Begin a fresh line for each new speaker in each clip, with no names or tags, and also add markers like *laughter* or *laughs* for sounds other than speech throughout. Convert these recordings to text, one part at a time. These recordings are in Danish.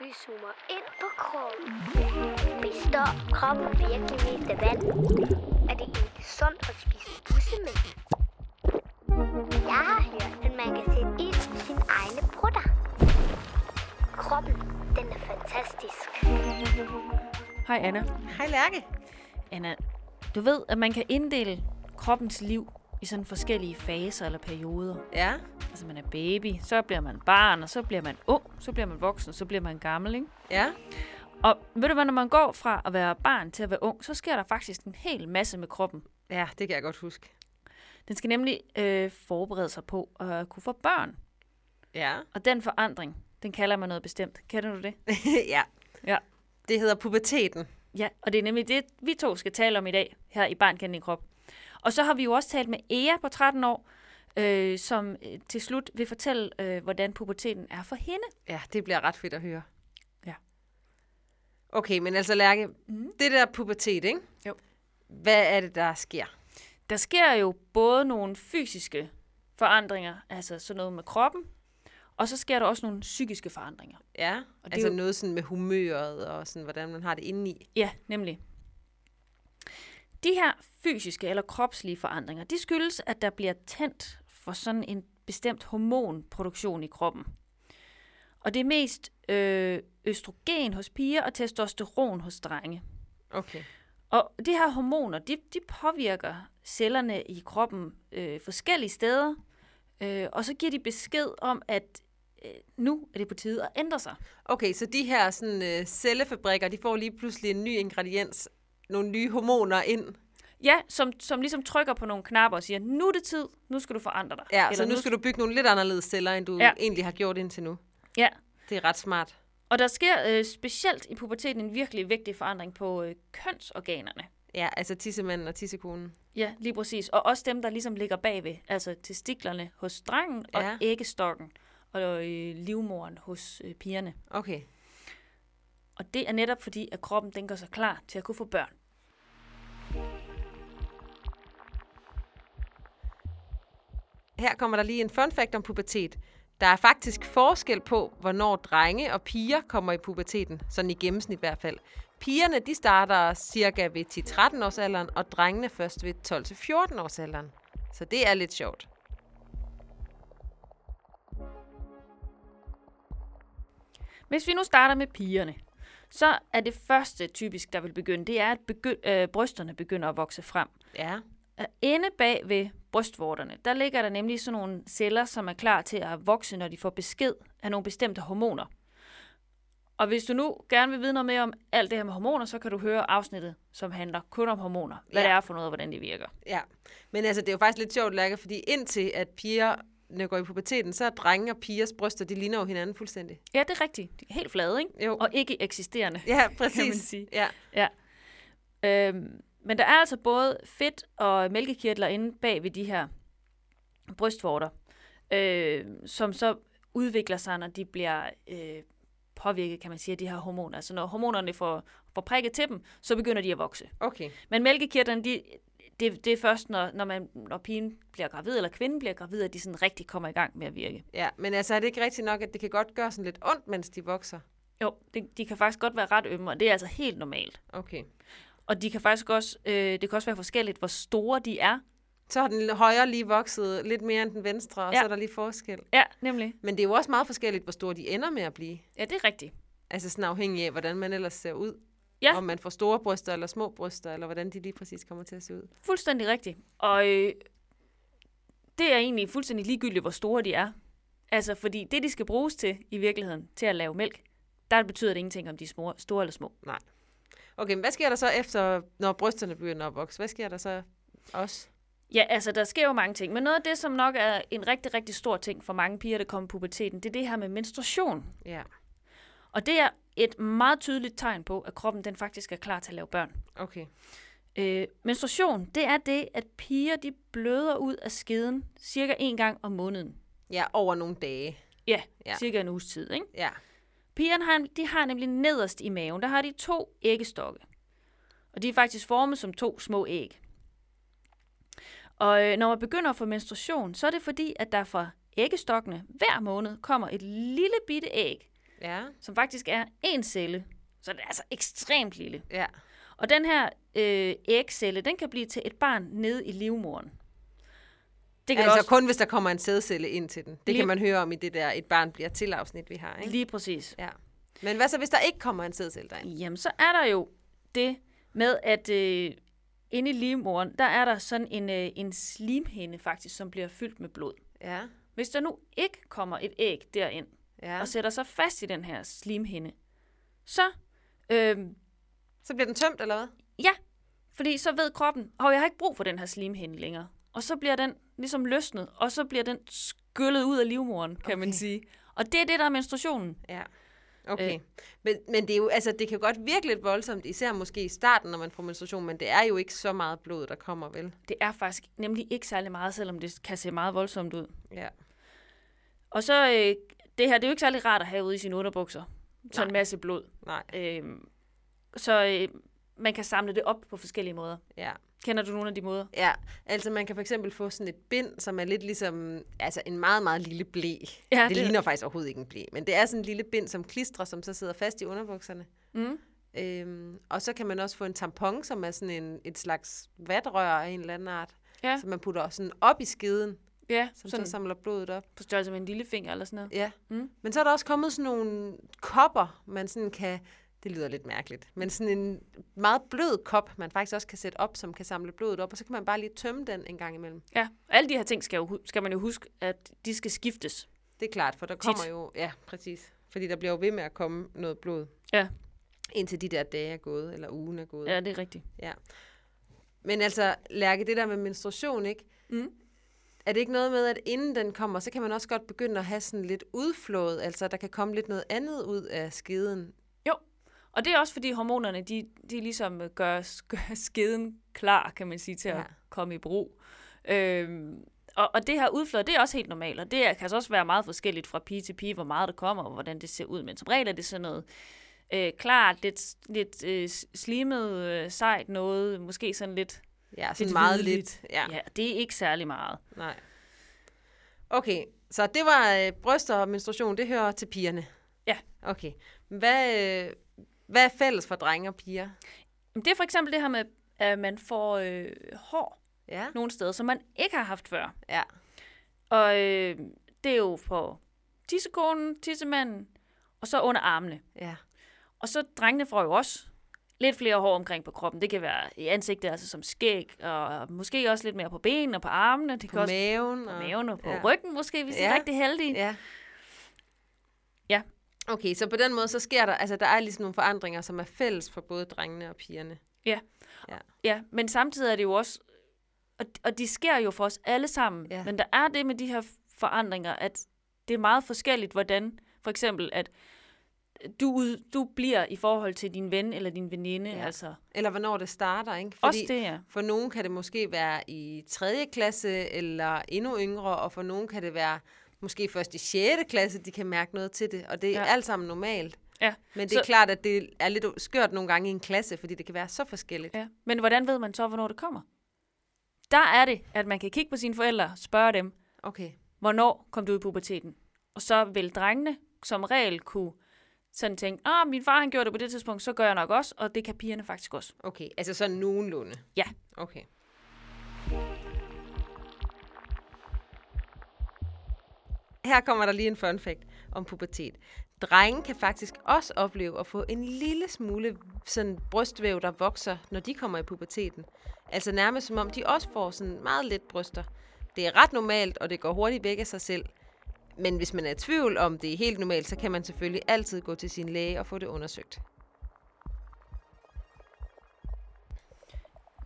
Vi zoomer ind på kroppen. Består kroppen virkelig mest af vand? Er det egentlig sundt at spise bussemænd? Jeg har hørt, at man kan sætte ild i sine egne brutter. Kroppen, den er fantastisk.
Hej Anna.
Hej Lærke.
Anna, du ved, at man kan inddele kroppens liv i sådan forskellige faser eller perioder.
Ja.
Altså man er baby, så bliver man barn, og så bliver man ung, så bliver man voksen, så bliver man gammel, ikke?
Ja.
Og ved du hvad, når man går fra at være barn til at være ung, så sker der faktisk en hel masse med kroppen.
Ja, det kan jeg godt huske.
Den skal nemlig øh, forberede sig på at kunne få børn.
Ja.
Og den forandring, den kalder man noget bestemt. Kender du det?
*laughs* ja.
Ja.
Det hedder puberteten.
Ja, og det er nemlig det, vi to skal tale om i dag, her i Barn Kendt i Krop. Og så har vi jo også talt med Ea på 13 år, øh, som øh, til slut vil fortælle, øh, hvordan puberteten er for hende.
Ja, det bliver ret fedt at høre.
Ja. Mm-hmm.
Okay, men altså Lærke, mm. det der pubertet, ikke?
Jo.
Hvad er det, der sker?
Der sker jo både nogle fysiske forandringer, altså sådan noget med kroppen, og så sker der også nogle psykiske forandringer.
Ja,
det er
altså
jo-
noget sådan med humøret og sådan, hvordan man har det indeni.
Ja, nemlig. De her fysiske eller kropslige forandringer, de skyldes, at der bliver tændt for sådan en bestemt hormonproduktion i kroppen. Og det er mest øh, østrogen hos piger og testosteron hos drenge.
Okay.
Og de her hormoner, de, de påvirker cellerne i kroppen øh, forskellige steder, øh, og så giver de besked om, at øh, nu er det på tide at ændre sig.
Okay, så de her sådan, øh, cellefabrikker, de får lige pludselig en ny ingrediens, nogle nye hormoner ind.
Ja, som, som ligesom trykker på nogle knapper og siger, nu er det tid, nu skal du forandre dig.
Ja, Eller så nu skal du bygge nogle lidt anderledes celler, end du
Ja.
ja. egentlig har gjort indtil nu.
Ja,
Det er ret smart.
og der sker øh, specielt i puberteten en virkelig vigtig forandring på øh, kønsorganerne.
Ja, altså tissemanden og tissekonen.
Ja, lige præcis. Og også dem, der ligesom ligger bagved, altså testiklerne hos drengen og
Ja.
æggestokken og øh, livmoren hos øh, pigerne.
Okay.
Og det er netop fordi, at kroppen den gør sig klar til at kunne få børn.
Her kommer der lige en fun fact om pubertet. Der er faktisk forskel på, hvornår drenge og piger kommer i puberteten, sådan i gennemsnit i hvert fald. Pigerne de starter cirka ved 10-13 års alderen, og drengene først ved 12-14 års alderen. Så det er lidt sjovt.
Hvis vi nu starter med pigerne, så er det første typisk, der vil begynde, det er, at begy- øh, brysterne begynder at vokse frem.
Ja,
Og Inde bag ved brystvorterne, der ligger der nemlig sådan nogle celler, som er klar til at vokse, når de får besked af nogle bestemte hormoner. Og hvis du nu gerne vil vide noget mere om alt det her med hormoner, så kan du høre afsnittet, som handler kun om hormoner. Hvad
Ja.
det er for noget, og hvordan de virker.
ja. Men altså, det er jo faktisk lidt sjovt, Lærke, fordi indtil at pigerne går i puberteten, så er drenge og pigers bryster, de ligner jo hinanden fuldstændig.
Ja, det er rigtigt. De er helt flade, ikke?
Jo.
Og ikke eksisterende.
Ja, præcis.
*laughs* Kan man sige.
Ja.
Ja. Øhm, men der er altså både fedt og mælkekirtler inde bag ved de her brystvorter, øh, som så udvikler sig, når de bliver øh, påvirket, kan man sige, af de her hormoner. Altså når hormonerne får, får prikket til dem, så begynder de at vokse.
Okay.
Men mælkekirtlerne, de, det, det er først, når, når, man, når pigen bliver gravid, eller kvinden bliver gravid, at de sådan rigtig kommer i gang med at virke.
Ja, men altså er det ikke rigtigt nok, at det kan godt gøre sådan lidt ondt, mens de vokser?
Jo, de, de kan faktisk godt være ret ømme, og det er altså helt normalt.
Okay.
Og de kan faktisk også, øh, det kan også være forskelligt, hvor store de er.
Så har den højre lige vokset lidt mere end den venstre, og
Ja.
ja. så er der lige forskel.
Ja, nemlig.
Men det er jo også meget forskelligt, hvor store de ender med at blive.
Ja, det er rigtigt.
Altså sådan afhængig af, hvordan man ellers ser ud.
Ja.
Om man får store bryster eller små bryster, eller hvordan de lige præcis kommer til at se ud.
Fuldstændig rigtigt. Og øh, det er egentlig fuldstændig ligegyldigt, hvor store de er. Altså, fordi det, de skal bruges til i virkeligheden, til at lave mælk, der betyder det ingenting, om de er små, store eller små.
Nej. Okay, men hvad sker der så efter, når brysterne begynder at vokse? Hvad sker der så også?
Ja, altså, der sker jo mange ting. Men noget af det, som nok er en rigtig, rigtig stor ting for mange piger, der kommer i puberteten, det er det her med menstruation.
Ja,
Og det er et meget tydeligt tegn på, at kroppen den faktisk er klar til at lave børn.
okay.
Øh, menstruation, det er det, at piger de bløder ud af skeden cirka en gang om måneden.
Ja, over nogle dage.
Ja, ja.
Ja.
cirka en uges tid, ikke?
Ja,
Pigerne har, de har nemlig nederst i maven, der har de to æggestokke. Og de er faktisk formet som to små æg. Og øh, når man begynder at få menstruation, så er det fordi, at der fra æggestokkene hver måned kommer et lille bitte æg,
Ja,
som faktisk er en celle. Så den er altså ekstremt lille.
ja.
Og den her øh, ægcelle, den kan blive til et barn nede i livmoren. Det
Altså også... kun hvis der kommer en sædcelle ind til den. Det
Lige-
kan man høre om i det der et barn bliver til afsnit, vi har. Ikke?
Lige præcis.
Ja. Men hvad så, hvis der ikke kommer en sædcelle derind?
Jamen, så er der jo det med, at øh, inde i livmoren, der er der sådan en, øh, en slimhinde faktisk, som bliver fyldt med blod.
Ja,
Hvis der nu ikke kommer et æg derind, ja.
ja.
og sætter sig fast i den her slimhinde, så, øh,
Så bliver den tømt, eller hvad?
ja, fordi så ved kroppen, at jeg har ikke brug for den her slimhinde længere. Og så bliver den ligesom løsnet, og så bliver den skyllet ud af livmoren, kan okay. man sige. Og det er det, der er menstruationen.
Ja. Okay. Øh. Men, men det, er jo, altså, det kan jo godt virke lidt voldsomt, især måske i starten, når man får menstruation, men det er jo ikke så meget blod, der kommer, vel?
Det er faktisk nemlig ikke særlig meget, selvom det kan se meget voldsomt ud.
Ja.
Og så, øh, det her, det er jo ikke særlig rart at have ude i sine underbukser. Sådan en masse blod.
Nej.
Øh, så øh, man kan samle det op på forskellige måder.
Ja.
Kender du nogle af de måder?
Ja, altså man kan for eksempel få sådan et bind, som er lidt ligesom altså en meget, meget lille blæ.
Ja,
det,
det-
det ligner faktisk overhovedet ikke en blæ, men det er sådan en lille bind, som klistrer, som så sidder fast i underbukserne.
Mm.
Øhm, og så kan man også få en tampon, som er sådan en, et slags vatrør af en eller anden art,
Ja.
som man putter sådan op i skeden,
Ja,
som
sådan
så samler blodet op.
på størrelse med en lillefinger eller sådan noget.
Ja.
Mm.
Mm. Men så er der også kommet sådan nogle kopper, man sådan kan, det lyder lidt mærkeligt, men sådan en meget blød kop, man faktisk også kan sætte op, som kan samle blodet op, og så kan man bare lige tømme den en gang imellem.
Ja, og alle de her ting skal, jo, hu- skal man jo huske, at de skal skiftes.
Det er klart, for der kommer
Tit.
jo... Ja, præcis. Fordi der bliver jo ved med at komme noget blod,
Ja,
indtil de der dage er gået, eller ugen er gået.
ja det er rigtigt.
ja. Men altså, Lærke, det der med menstruation, ikke?
Mm.
Er det ikke noget med, at inden den kommer, så kan man også godt begynde at have sådan lidt udflået, altså der kan komme lidt noget andet ud af skeden?
Jo, og det er også fordi hormonerne, de, de ligesom øh, gør, *laughs* gør skeden klar, kan man sige, til ja.
Ja.
at komme i brug. Øhm, og, og det her udflod, det er også helt normalt, og det er, kan altså også være meget forskelligt fra pige til pige, hvor meget der kommer, og hvordan det ser ud. Men som regel er det sådan noget øh, klart, lidt, lidt øh, slimet, øh, sejt noget, måske sådan lidt...
Ja, sådan meget
hvidligt.
lidt. Ja,
Ja, det er ikke særlig meget.
nej. Okay, så det var øh, bryster og menstruation, det hører til pigerne.
Ja.
Okay. Hvad, øh, hvad er fælles for drenge og piger?
Jamen, Det er for eksempel det her med, at man får øh, hår
Ja,
nogle steder, som man ikke har haft før.
ja,
Og øh, det er jo på tissekonen, tissemanden, og så under armene.
ja.
Og så drengene får jo også lidt flere hår omkring på kroppen. Det kan være i ansigtet, altså som skæg, og måske også lidt mere på benene og på armene. Det
På
kan også
maven.
på
og-
maven og på
ja.
ryggen måske, hvis de er
Ja.
rigtig heldige.
Ja.
Ja.
Okay, så på den måde, så sker der, altså der er ligesom nogle forandringer, som er fælles for både drengene og pigerne.
Ja.
Ja.
ja, men samtidig er det jo også, og, og de sker jo for os alle sammen,
Ja.
men der er det med de her forandringer, at det er meget forskelligt, hvordan for eksempel, at du, ud, du bliver i forhold til din ven eller din veninde, ja.
Ja.
altså
Eller hvornår det starter, ikke?
Fordi... også det her.
For nogen kan det måske være i 3. klasse eller endnu yngre, og for nogen kan det være måske først i 6. klasse, de kan mærke noget til det, og det er
Ja.
ja. alt sammen normalt.
Ja.
Men det er
Så-
så... klart, at det er lidt skørt nogle gange i en klasse, fordi det kan være så forskelligt.
Ja. Men hvordan ved man så, hvornår det kommer? Der er det, at man kan kigge på sine forældre og spørge dem,
Okay,
hvornår kom du ud i puberteten? Og så vil drengene som regel kunne sådan tænke, ah, min far han gjorde det på det tidspunkt, så gør jeg nok også, og det kan pigerne faktisk også.
okay. Altså sådan nogenlunde.
Ja.
Okay. Her kommer der lige en fun fact om pubertet. Drenge kan faktisk også opleve at få en lille smule sådan brystvæv, der vokser, når de kommer i puberteten. Altså nærmest som om de også får sådan meget let bryster. Det er ret normalt, og det går hurtigt væk af sig selv. Men hvis man er i tvivl om det er helt normalt, så kan man selvfølgelig altid gå til sin læge og få det undersøgt.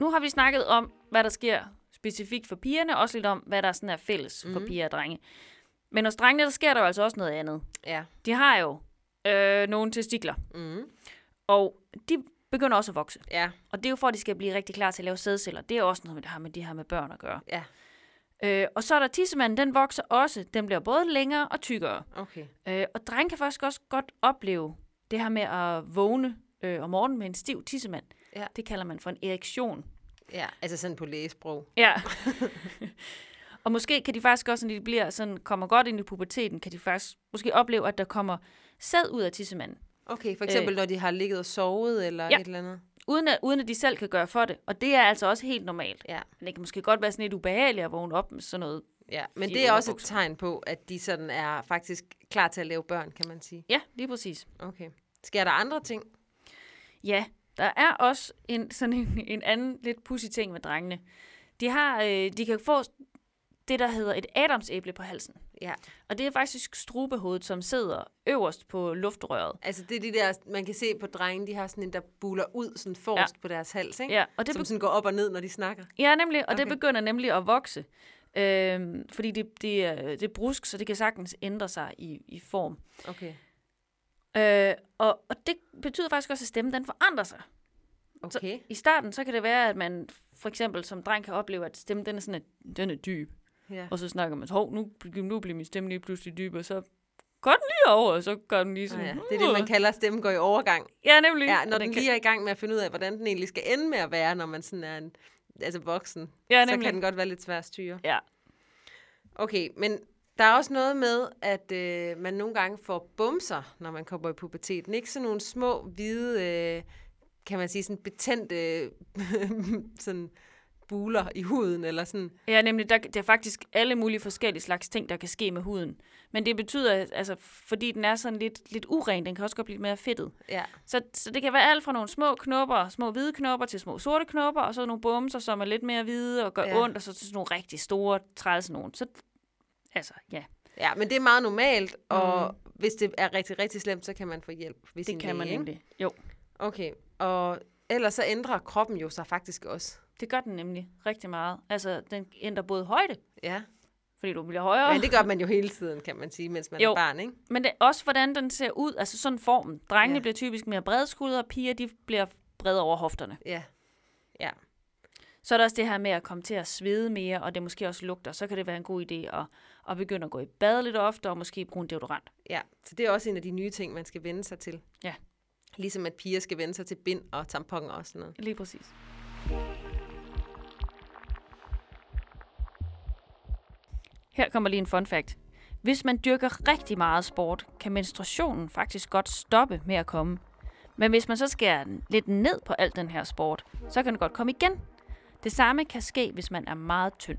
Nu har vi snakket om, hvad der sker specifikt for pigerne, også lidt om, hvad der sådan er fælles for piger og drenge. Men hos drengene, der sker der jo altså også noget andet.
Ja.
De har jo øh, nogle testikler,
Mm.
og de begynder også at vokse.
Ja,
Og det er jo for, at de skal blive rigtig klar til at lave sædceller. Det er også noget, der har med de her med børn at gøre.
ja.
Øh, og så er der tissemanden, den vokser også. Den bliver både længere og tykkere.
Okay.
Øh, og drenge kan faktisk også godt opleve det her med at vågne øh, om morgenen med en stiv tissemand.
Ja.
Det kalder man for en erektion.
Ja, altså sådan på lægesprog.
Ja. *laughs* Og måske kan de faktisk også, når de bliver sådan, kommer godt ind i puberteten, kan de faktisk måske opleve, at der kommer sæd ud af tissemanden.
Okay, for eksempel øh. når de har ligget og sovet eller
Ja.
et eller andet.
Uden at, uden at de selv kan gøre for det. Og det er altså også helt normalt.
Ja.
Men det kan måske godt være sådan lidt ubehageligt at vågne op med sådan noget.
Ja, men
De
det er også et
underbukser.
tegn på, at de sådan er faktisk klar til at lave børn, kan man sige.
Ja, lige præcis.
Okay. Sker der andre ting?
Ja, der er også en, *laughs* sådan en, en anden lidt pussy ting med drengene. De, har, øh, de kan få det, der hedder et adamsæble på halsen.
Ja.
Og det er faktisk strubehovedet, som sidder øverst på luftrøret.
Altså det er de der, man kan se på drenge, de har sådan en, der buler ud sådan forrest ja. på deres hals, ikke?
Ja, og
Det
det,
som sådan går op og ned, når de snakker.
Ja, nemlig, og okay. det
Okay.
begynder nemlig at vokse. Øhm, fordi det, det, er, det er brusk, så det kan sagtens ændre sig i, i form.
Okay.
Øh, og, og det betyder faktisk også, at stemmen den forandrer sig.
Okay.
I starten, så kan det være, at man for eksempel som dreng kan opleve, at stemmen den er, sådan, at den er dyb.
Ja.
Og så snakker man, hov, nu, nu bliver min stemme lige pludselig dyb, og så går den lige over, og så gør den lige
Nå
sådan.
Ah,
"Hmm."
ja. Det er det, man kalder, at stemmen går i overgang.
Ja, nemlig.
Ja,
Og
når den
kan-
lige er i gang med at finde ud af, hvordan den egentlig skal ende med at være, når man sådan er en, altså voksen.
ja,
så
nemlig.
kan den godt være lidt svær at styre.
Ja.
Okay, men der er også noget med, at øh, man nogle gange får bumser, når man kommer i puberteten. Ikke sådan nogle små, hvide, øh, kan man sige, sådan betændte *laughs* øh, sådan buler i huden, eller sådan.
Ja, nemlig, der, der er faktisk alle mulige forskellige slags ting, der kan ske med huden. Men det betyder, at- altså, fordi den er sådan lidt, lidt uren, den kan også godt blive mere fedtet.
Ja,
Så, så det kan være alt fra nogle små knopper, små hvide knopper, til små sorte knopper, og så nogle bumser, som er lidt mere hvide og gør
Ja.
ja. ondt, og så til sådan nogle rigtig store træls nogen. Så, altså, ja,
ja men det er meget normalt, og mm. hvis det er rigtig, rigtig slemt, så kan man få hjælp. Hvis
det kan man nemlig. Jo,
Okay, og ellers så ændrer kroppen jo sig faktisk også.
det gør den nemlig rigtig meget. Altså, den ændrer både højde,
Ja,
fordi du bliver højere,
men det gør man jo hele tiden, kan man sige, mens man jo.
Jo.
er barn, ikke?
Men det er også, hvordan den ser ud, altså sådan formen. Drengene
Ja.
ja. bliver typisk mere bredskuldre, og piger de bliver brede over hofterne.
Ja, ja.
Så er der også det her med at komme til at svede mere, og det måske også lugter. Så kan det være en god idé at, at begynde at gå i bad lidt oftere, og måske bruge en deodorant.
Ja, så det er også en af de nye ting, man skal vende sig til.
Ja.
Ligesom at piger skal vende sig til bind og tamponer og sådan noget.
Lige præcis. Her kommer lige en fun fact. Hvis man dyrker rigtig meget sport, kan menstruationen faktisk godt stoppe med at komme. Men hvis man så skærer den lidt ned på al den her sport, så kan den godt komme igen. Det samme kan ske, hvis man er meget tynd.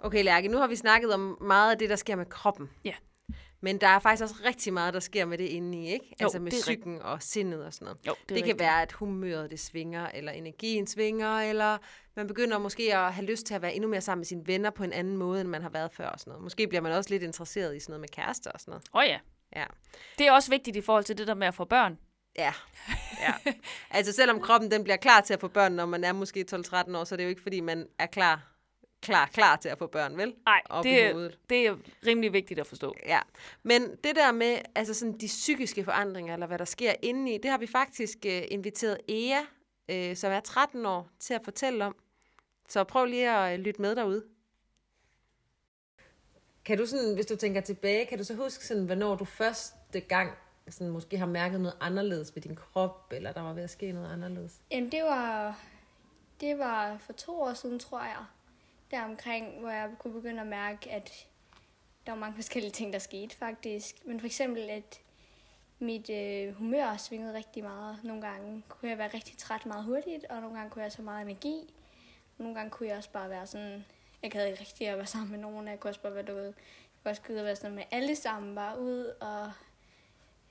Okay, Lærke, nu har vi snakket om meget af det, der sker med kroppen.
Ja.
Men der er faktisk også rigtig meget, der sker med det indeni, ikke? Jo, altså med
det er
psyken og sindet og sådan noget.
Jo,
Det, det kan være, at humøret det svinger, eller energien svinger, eller man begynder måske at have lyst til at være endnu mere sammen med sine venner på en anden måde, end man har været før og sådan noget. Måske bliver man også lidt interesseret i sådan noget med kærester og sådan noget.
Åh oh, ja.
Ja.
Det er også vigtigt i forhold til det der med at få børn.
Ja. ja. *laughs* altså selvom kroppen den bliver klar til at få børn, når man er måske 12-13 år, så er det jo ikke, fordi man er klar, klar, klar til at få børn, vel?
Nej,
Op i
det,
hovedet.
det er rimelig vigtigt at forstå.
Ja. Men det der med altså sådan de psykiske forandringer, eller hvad der sker indeni, det har vi faktisk øh, inviteret Ea, øh, som er 13 år, til at fortælle om. Så prøv lige at øh, lytte med derude. Kan du sådan, hvis du tænker tilbage, kan du så huske sådan, hvornår du første gang sådan måske har mærket noget anderledes ved din krop, eller der var ved at ske noget anderledes?
Jamen, det var, det var for to år siden, tror jeg. Der omkring, hvor jeg kunne begynde at mærke, at der var mange forskellige ting, der skete faktisk. Men for eksempel, at mit øh, humør svingede rigtig meget. Nogle gange kunne jeg være rigtig træt meget hurtigt, og nogle gange kunne jeg have så meget energi. Og nogle gange kunne jeg også bare være sådan... Jeg gad ikke rigtig at være sammen med nogen, og jeg kunne også bare være derude. Jeg kunne også gide at være sådan med alle sammen, bare ud og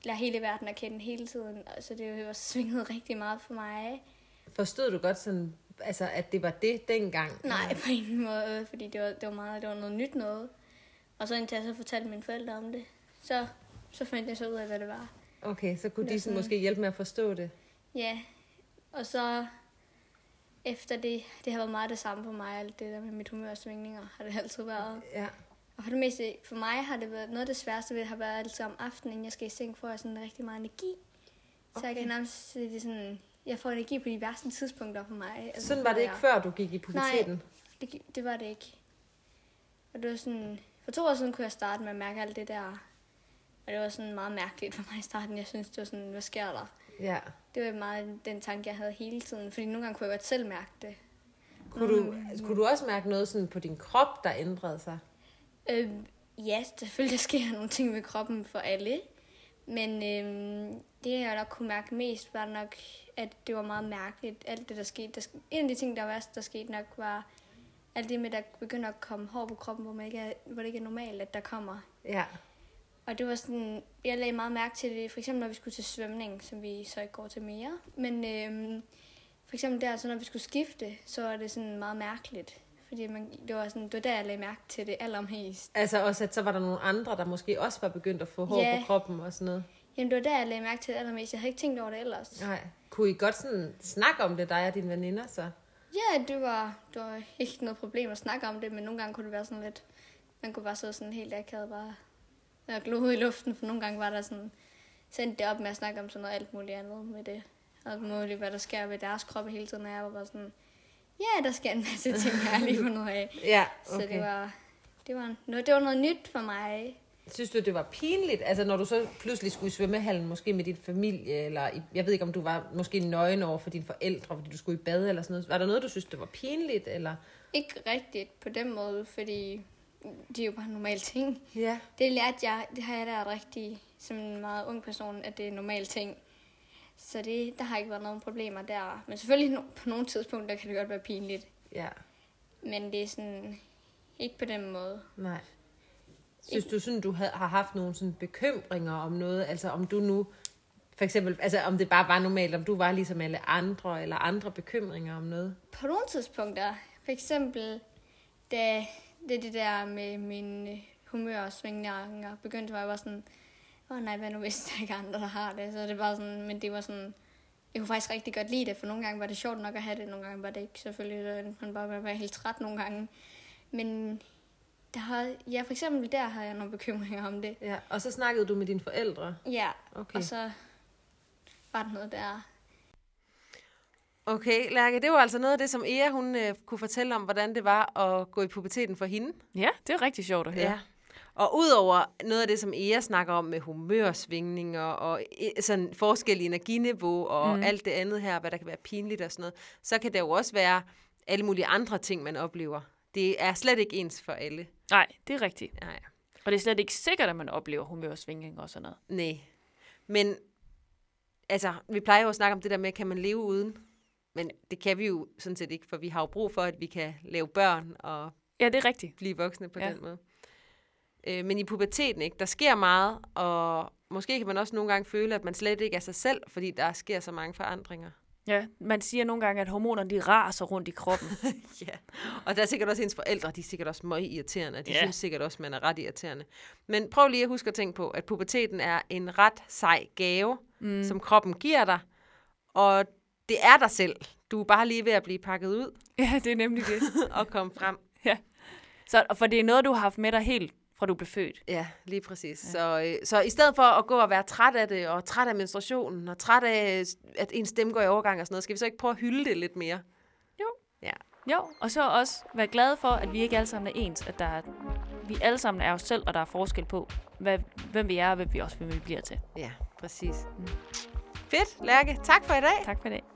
lære hele verden at kende hele tiden. Og Så det var svinget rigtig meget for mig.
Forstod du godt sådan, altså, at det var det dengang?
Nej, på ingen måde, fordi det var, det var meget, det var noget nyt noget. Og så indtil jeg så fortalte mine forældre om det, så, så fandt jeg så ud af, hvad det var.
Okay, så kunne de
Lidt
sådan
sådan-
måske hjælpe med at forstå det.
Ja, og så efter det, det har været meget det samme for mig, alt det der med mit humørsvingninger har det altid været.
Ja.
Og for det meste, for mig har det været noget af det sværeste ved at have været altid om aftenen, inden jeg skal i seng, får jeg sådan rigtig meget energi. Så jeg kan nærmest se det sådan, jeg får energi på de værste tidspunkter for mig. Altså,
Sådan var det ikke
jeg-
før, du gik i
Nej,
puberteten?
det, gi- det var det ikke. Og det var sådan, for to år siden kunne jeg starte med at mærke alt det der. Og det var sådan meget mærkeligt for mig i starten. Jeg synes, det var sådan, hvad sker der?
Ja.
Det var meget den tanke, jeg havde hele tiden. Fordi nogle gange kunne jeg godt selv mærke det.
Kunne, du, altså, kunne du også mærke noget sådan på din krop, der ændrede sig?
Øhm, ja, selvfølgelig der sker nogle ting med kroppen for alle. Men øhm, det, jeg nok kunne mærke mest, var nok, at det var meget mærkeligt. Alt det, der skete. Der, sk- en af de ting, der var værst, der skete nok, var alt det med, at der begynder at komme hår på kroppen, hvor, man ikke er, hvor det ikke er normalt, at der kommer.
Ja.
Og det var sådan, jeg lagde meget mærke til det, for eksempel når vi skulle til svømning, som vi så ikke går til mere. Men øhm, for eksempel der, så når vi skulle skifte, så var det sådan meget mærkeligt. Fordi man, det, var sådan, det var der, jeg lagde mærke til det allermest.
Altså også, at så var der nogle andre, der måske også var begyndt at få hår
Ja.
på kroppen og sådan noget.
Jamen, det var der, jeg lagde mærke til det allermest. Jeg havde ikke tænkt over det ellers. Ja,
Nej. Kunne I godt sådan snakke om det, dig og dine veninder så?
ja det, var, det var ikke noget problem at snakke om det, men nogle gange kunne det være sådan lidt... Man kunne bare sidde sådan helt akavet bare og glo ud i luften, for nogle gange var der sådan... Sendte det op med at snakke om sådan noget alt muligt andet med det. Og muligt, hvad der sker ved deres kroppe hele tiden, og jeg var bare sådan... Ja, der sker en masse ting, jeg lige fundet ud af.
Ja,
Så det var, det var, noget, det var noget nyt for mig.
Synes du, det var pinligt, altså når du så pludselig skulle i svømmehallen, måske med din familie, eller i, jeg ved ikke, om du var måske nøgen over for dine forældre, fordi du skulle i bad eller sådan noget. Var der noget, du synes, det var pinligt, eller?
Ikke rigtigt på den måde, fordi det er jo bare normale ting.
Ja.
Det lærte jeg, det har jeg lært rigtig, som en meget ung person, at det er en normal ting. Så det, der har ikke været nogen problemer der. Men selvfølgelig no- på nogle tidspunkter kan det godt være pinligt.
Ja,
Men det er sådan, ikke på den måde.
nej. Synes du sådan, du havde, har haft nogle sådan bekymringer om noget, altså om du nu, for eksempel, altså om det bare var normalt, om du var ligesom alle andre, eller andre bekymringer om noget?
På nogle tidspunkter, for eksempel, da det, det der med min øh, humør og svingninger begyndte, var jeg bare sådan, åh nej, hvad nu hvis der ikke er andre, der har det? Så det var sådan, men det var sådan, jeg kunne faktisk rigtig godt lide det, for nogle gange var det sjovt nok at have det, nogle gange var det ikke, selvfølgelig, så endte man bare med at være helt træt nogle gange. Men der har, ja, for eksempel der har jeg nogle bekymringer om det.
Ja, og så snakkede du med dine forældre.
Ja,
Okay.
og så var der noget der.
Okay, Lærke, det var altså noget af det, som Ea hun, øh, kunne fortælle om, hvordan det var at gå i puberteten for hende.
Ja, det er rigtig sjovt at høre.
Ja. Og udover noget af det, som Ea snakker om med humørsvingninger og e- sådan forskellige energiniveau og mm. alt det andet her, hvad der kan være pinligt og sådan noget, så kan der jo også være alle mulige andre ting, man oplever. Det er slet ikke ens for alle.
Nej, det er rigtigt.
Nej.
Og det er slet ikke sikkert, at man oplever humørsvingninger og sådan noget.
Nej. Men altså, vi plejer jo at snakke om det der med, kan man leve uden? Men det kan vi jo sådan set ikke, for vi har jo brug for, at vi kan lave børn og
Ja, det er rigtigt.
blive voksne på ja.
Ja.
den måde. Øh, men i puberteten, ikke, der sker meget, og måske kan man også nogle gange føle, at man slet ikke er sig selv, fordi der sker så mange forandringer.
Ja, man siger nogle gange, at hormonerne de raser rundt i *laughs* kroppen.
ja. Og der er sikkert også ens forældre, de er sikkert også meget irriterende, og de
Ja.
synes sikkert også, man er ret irriterende. Men prøv lige at huske at tænke på, at puberteten er en ret sej gave, mm. som kroppen giver dig, og det er dig selv. Du er bare lige ved at blive pakket ud
ja, det er nemlig det.
og komme frem.
ja. Så, og for det er noget, du har haft med dig helt, fra du blev født.
Ja, lige præcis. Ja. Så, øh, så i stedet for at gå og være træt af det, og træt af menstruationen, og træt af, øh, at ens stemme går i overgang og sådan noget, skal vi så ikke prøve at hylde det lidt mere?
Jo.
Ja.
Jo, og så også være glade for, at vi ikke alle sammen er ens. At der er, vi alle sammen er os selv, og der er forskel på, hvad, hvem vi er, og hvem vi også hvem vi bliver til.
Ja, præcis. Mm. Fedt, Lærke. Tak for i dag.
Tak for i dag.